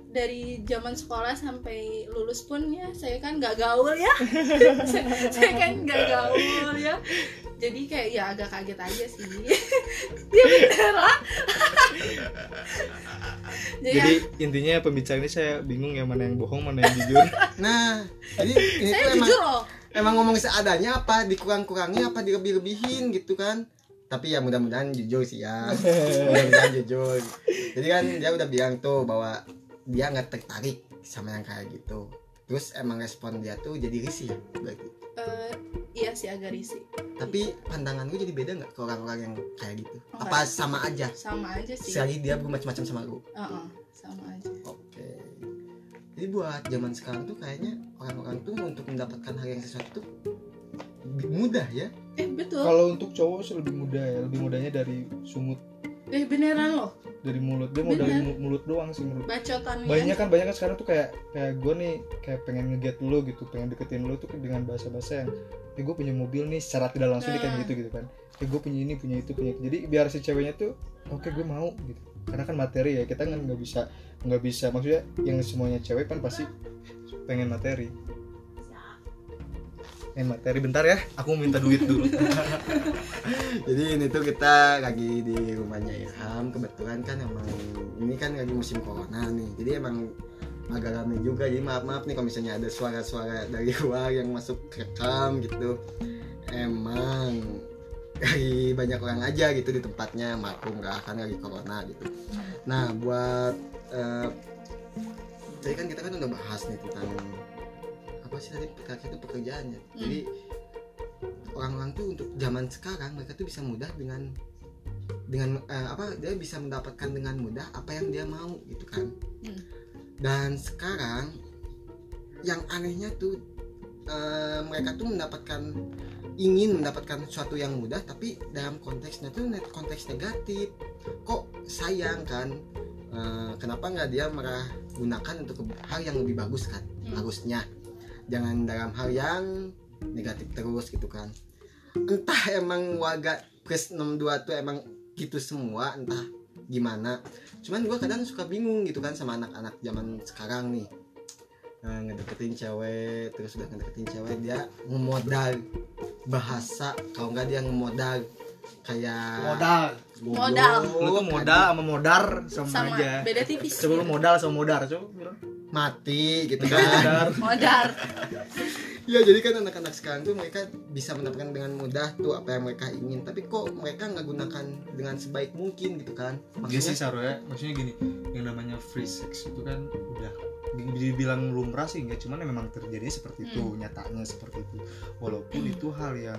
S3: dari zaman sekolah sampai lulus pun ya saya kan nggak gaul ya saya, saya kan nggak gaul ya jadi kayak ya agak kaget aja sih dia bener lah jadi, ah,
S2: jadi intinya pembicaraan ini saya bingung ya mana yang bohong mana yang jujur
S1: nah jadi ini
S3: saya
S1: tuh emang
S3: jujur loh
S1: emang ngomong seadanya apa dikurang-kurangi apa dilebih-lebihin gitu kan tapi ya mudah-mudahan jujur sih ya mudah-mudahan jujur jadi kan dia udah bilang tuh bahwa dia nggak tertarik sama yang kayak gitu terus emang respon dia tuh jadi risih ya berarti.
S3: Eh, iya sih agak risih
S1: tapi pandangan gue jadi beda nggak ke orang-orang yang kayak gitu
S3: Enggak.
S1: apa sama aja
S3: sama aja sih
S1: selagi dia bermacam-macam sama gue oke
S3: Heeh, sama aja
S1: jadi buat zaman sekarang tuh kayaknya orang-orang tuh untuk mendapatkan hal yang sesuatu tuh bi- mudah ya
S3: eh betul
S2: kalau untuk cowok sih lebih mudah ya lebih mudahnya dari sungut
S3: eh beneran loh
S2: dari mulut dia mau dari
S3: Bener.
S2: mu- mulut doang sih menurut
S3: bacotannya
S2: banyak kan banyak kan sekarang tuh kayak kayak gue nih kayak pengen ngeget lo gitu pengen deketin lo tuh dengan bahasa bahasa yang ya gue punya mobil nih secara tidak langsung dia kayak
S3: Nah.
S2: gitu gitu kan ya gue punya ini punya itu punya itu." jadi biar si ceweknya tuh oke gue mau gitu karena kan materi ya kita kan nggak bisa nggak bisa maksudnya yang semuanya cewek kan pasti pengen materi pengen materi bentar ya aku mau minta duit dulu
S1: jadi ini tuh kita lagi di rumahnya Ilham kebetulan kan emang ini kan lagi musim corona nih jadi emang agak rame juga jadi maaf maaf nih kalau misalnya ada suara-suara dari luar yang masuk rekam gitu emang dari banyak orang aja gitu di tempatnya maklum nggak akan lagi corona gitu nah buat eh, tadi kan kita kan udah bahas nih tentang apa sih tadi PKK itu pekerjaannya jadi orang-orang tuh untuk zaman sekarang mereka tuh bisa mudah dengan dengan eh, apa dia bisa mendapatkan dengan mudah apa yang dia mau gitu kan
S3: Hmm.
S1: dan sekarang yang anehnya tuh eh, mereka tuh mendapatkan ingin mendapatkan sesuatu yang mudah tapi dalam konteksnya tuh net konteks negatif kok sayang kan Eh, kenapa nggak dia merah gunakan untuk ke- hal yang lebih bagus kan
S3: Hmm.
S1: harusnya jangan dalam hal yang negatif terus gitu kan entah emang warga plus 62 tuh emang gitu semua entah gimana cuman gua kadang suka bingung gitu kan sama anak-anak zaman sekarang nih Eh, ngedeketin cewek terus udah ngedeketin cewek dia ngemodal bahasa kalau nggak dia ngemodal kayak
S2: modal
S1: goblok.
S3: Modal.
S2: lu tuh modal sama modar sama,
S3: sama
S2: aja
S3: beda tipis
S2: coba lu modal sama modar coba bilang
S1: mati gitu
S2: Iya, modal
S1: kan
S2: modar
S3: modal
S1: ya jadi kan anak-anak sekarang tuh mereka bisa mendapatkan dengan mudah tuh apa yang mereka ingin tapi kok mereka nggak gunakan dengan sebaik mungkin gitu kan
S2: Iya sih
S1: maksudnya
S2: Saro ya, maksudnya gini, yang namanya free sex itu kan udah dibilang lumrah sih enggak, cuman ya memang terjadinya seperti itu, nyatanya seperti itu. Walaupun itu hal yang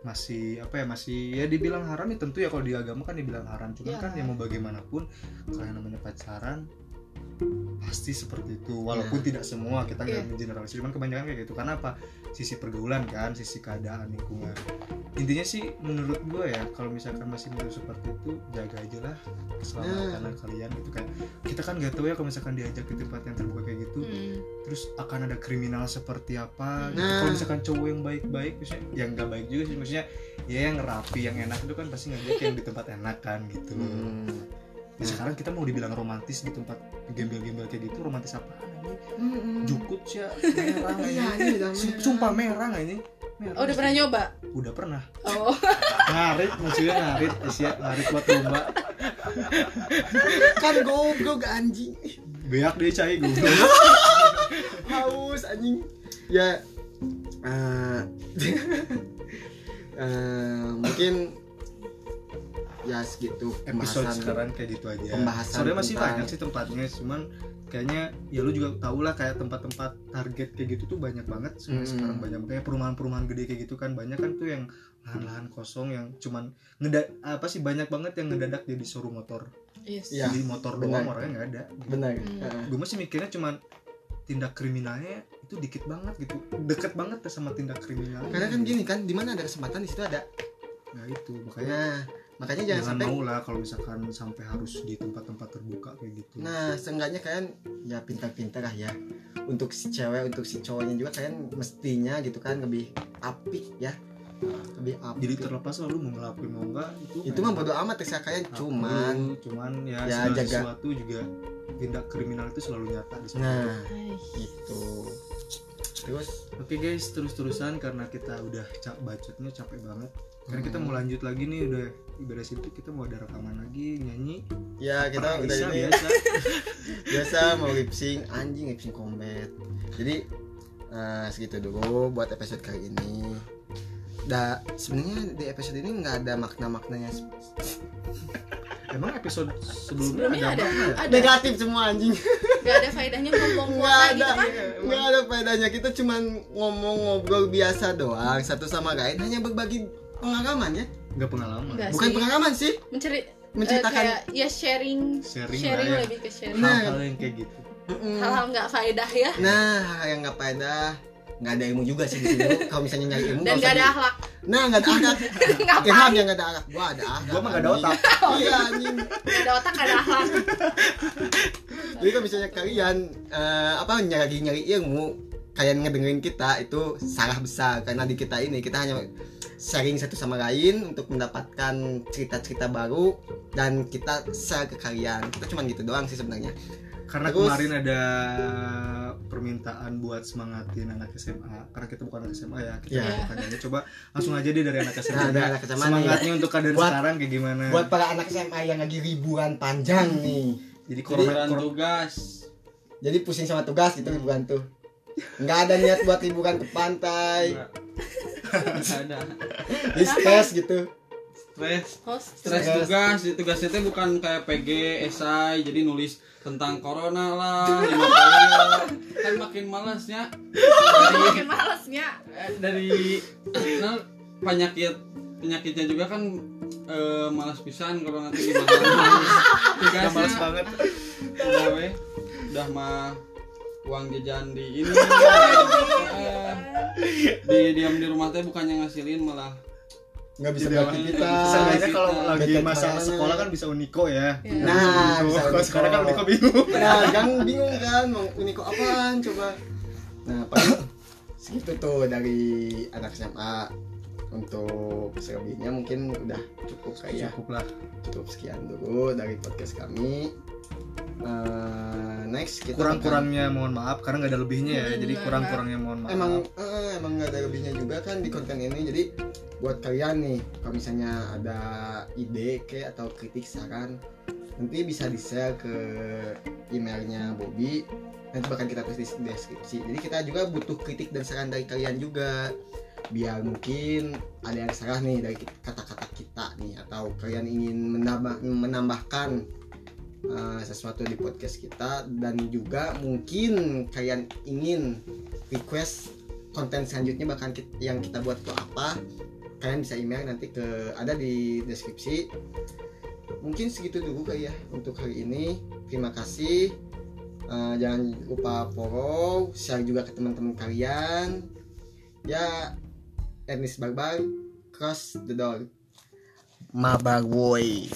S2: masih apa ya masih ya dibilang haram ya tentu ya kalau di agama kan dibilang haram cuman
S3: Ya.
S2: kan ya mau bagaimanapun kalau yang namanya pacaran pasti seperti itu walaupun tidak semua kita nggak mengeneralisir cuman kebanyakan kayak gitu karena apa sisi pergaulan kan sisi keadaan lingkungan intinya sih menurut gue ya kalau misalkan masih menurut seperti itu jaga aja lah keselamatan
S1: Nah.
S2: kalian gitu kan kita kan nggak tahu ya kalau misalkan diajak ke tempat yang terbuka kayak gitu
S3: Hmm.
S2: terus akan ada kriminal seperti apa gitu.
S1: Nah.
S2: kalau misalkan cowok yang baik-baik maksudnya yang nggak baik juga sih maksudnya ya yang rapi yang enak itu kan pasti ngajak yang di tempat enak kan gitu loh
S1: Hmm.
S2: Nah, sekarang kita mau dibilang romantis di tempat gembel-gembel kayak gitu romantis apa
S1: Mm-mm.
S2: jukut sih ya, merah
S1: Hmm. iya
S2: ini
S1: ini udah merah.
S2: sumpah merah ini
S3: oh udah pernah nyoba
S2: udah pernah
S3: oh
S2: narik maksudnya narik Isya narik buat lomba
S1: kan goblok anjing
S2: beak deh cai gue
S1: haus anjing ya eh, eh, mungkin ya segitu
S2: episode
S1: pembahasan.
S2: sekarang kayak gitu aja
S1: Pembahasan
S2: soalnya masih
S1: tentang-
S2: banyak sih tempatnya cuman kayaknya ya lu juga tau lah kayak tempat-tempat target kayak gitu tuh banyak banget sebenarnya
S1: Hmm.
S2: sekarang banyak kayak perumahan-perumahan gede kayak gitu kan banyak kan tuh yang lahan-lahan kosong yang cuman ngeda apa sih banyak banget yang ngedadak jadi showroom motor
S3: yes
S1: Iya.
S2: jadi motor
S1: benar.
S2: doang orangnya nggak ada
S1: benar
S3: Hmm.
S1: eh,
S2: gue masih mikirnya cuman tindak kriminalnya itu dikit banget gitu deket banget sama tindak kriminalnya
S1: karena kan gini kan di mana ada kesempatan di situ ada
S2: nah itu makanya
S1: nah makanya jangan
S2: jangan
S1: sampai
S2: mau lah kalau misalkan sampai harus di tempat-tempat terbuka kayak gitu
S1: Nah, seenggaknya kalian ya pintar-pintar lah ya. Untuk si cewek, untuk si cowoknya juga kalian mestinya gitu kan lebih apik ya. Lebih apik.
S2: jadi terlepas lalu mau ngelakuin mau enggak itu
S1: itu mah bodo amat terserah kalian
S2: Aku,
S1: cuman
S2: cuman ya,
S1: ya,
S2: segala
S1: jaga.
S2: sesuatu juga tindak kriminal itu selalu nyata di sana.
S1: nah
S3: Hai.
S1: gitu. Terus
S2: Oke guys, terus-terusan karena kita udah cap bacotnya capek banget. Karena
S1: Hmm.
S2: kita mau lanjut lagi nih udah ibadah situ kita mau ada rekaman lagi nyanyi.
S1: ya kita
S2: Perang
S1: udah
S2: bisa,
S1: ini
S2: biasa.
S1: biasa mau lip sync anjing lip sync combat. Jadi eh, segitu dulu buat episode kali ini. Da, sebenarnya di episode ini nggak ada makna-maknanya
S2: Emang episode sebelumnya,
S3: sebelumnya ada
S2: apa?
S3: ada
S1: negatif semua anjing.
S3: nggak ada faedahnya buang-buang
S1: Nggak
S3: kuota
S1: ada,
S3: gitu kan
S1: nggak ada faedahnya kita cuman ngomong ngobrol biasa doang satu sama lain hanya berbagi pengalaman ya
S2: Nggak pengalaman.
S3: Nggak.
S1: bukan
S3: Asik.
S1: pengalaman sih
S3: mencari
S1: menceritakan
S3: eh, kayak Iya ya sharing
S2: Sharing,
S3: sharing
S2: lah ya.
S3: lebih ke sharing
S1: Nah.
S2: Hal-hal yang kayak gitu.
S1: Mm-mm.
S3: hal-hal nggak faedah ya
S1: nah hal yang nggak faedah nggak ada ilmu juga sih di sini kalau misalnya nyari ilmu
S3: dan
S1: nggak
S3: nggak ada
S1: usah
S3: akhlak
S1: di- nah nggak ada akhlak Ilham
S3: ngapain
S1: yang nggak ada akhlak gua ada akhlak
S2: Gua mah nggak ada
S1: anjing. iya anjing
S3: nggak ada otak nggak ada akhlak
S1: jadi kalau misalnya kalian eh, apa nyari nyari ilmu kalian ngedengerin kita itu salah besar karena di kita ini kita hanya sharing satu sama lain untuk mendapatkan cerita-cerita baru dan kita share ke kalian kita cuma gitu doang sih sebenarnya
S4: Hmm.
S2: Karena
S1: Terus-
S2: kemarin ada permintaan buat semangatin anak SMA karena kita bukan anak SMA ya kita
S1: Iya.
S2: bukan kadernya. coba langsung aja deh dari anak SMA
S1: Nah, dari anak SMA nih.
S2: ya. semangatnya untuk kader
S1: Buat-
S2: sekarang kayak gimana
S1: buat para anak SMA yang lagi liburan panjang
S4: Hmm.
S1: nih
S2: jadi corona
S4: Koran
S2: corona-
S4: tugas.
S1: jadi pusing sama tugas gitu liburan tuh nggak ada niat buat liburan ke pantai
S2: Nggak.
S4: ada Nah.
S2: Jadi stres gitu
S4: stres
S3: host
S4: stres
S2: Stres.
S4: tugas Di tugasnya itu bukan kayak PG esai jadi nulis tentang corona lah lima kali kan makin malasnya dari
S3: makin malasnya
S4: eh, dari nah, penyakit penyakitnya juga kan eh, malas pisan kalau nanti gimana
S2: Gak males
S4: tugasnya
S2: banget
S4: udah weh udah mah uang jajan di ini Eh, di diam di rumah teh bukannya ngasilin malah
S2: Nggak bisa
S4: Jadi
S2: banget
S4: orang-
S2: kita
S1: Seenggaknya
S2: kalau
S4: kita-
S2: lagi
S1: Iya. bete
S2: masa
S1: kepalanya.
S2: sekolah kan bisa uniko ya
S3: Iya.
S1: Nah,
S2: Uniko.
S1: bisa
S2: Kalau
S1: uniko.
S2: sekarang kan uniko bingung
S1: Nah, kan bingung kan mau uniko apaan coba. Nah, paling segitu tuh dari anak SMA untuk selebihnya mungkin udah cukup kayak ya,
S2: cukup lah
S1: cukup sekian dulu dari podcast kami. Eh, next kita akan-
S2: kurang-kurangnya mohon maaf karena nggak ada lebihnya ya jadi
S3: Benar.
S2: kurang-kurangnya mohon maaf
S1: emang eh, emang nggak ada lebihnya juga kan di konten ini jadi buat kalian nih kalau misalnya ada ide ke atau kritik saran nanti bisa di share ke emailnya Bobby nanti bakal kita tulis di deskripsi jadi kita juga butuh kritik dan saran dari kalian juga biar mungkin ada yang salah nih dari kata-kata kita nih atau kalian ingin menambah- menambahkan eh, sesuatu di podcast kita dan juga mungkin kalian ingin request konten selanjutnya bahkan kit- yang kita buat tuh apa kalian bisa email nanti ke ada di deskripsi mungkin segitu dulu kali ya untuk hari ini terima kasih Eh, jangan lupa follow share juga ke teman-teman kalian ya Ernest Barbar cross the door Mabar Boy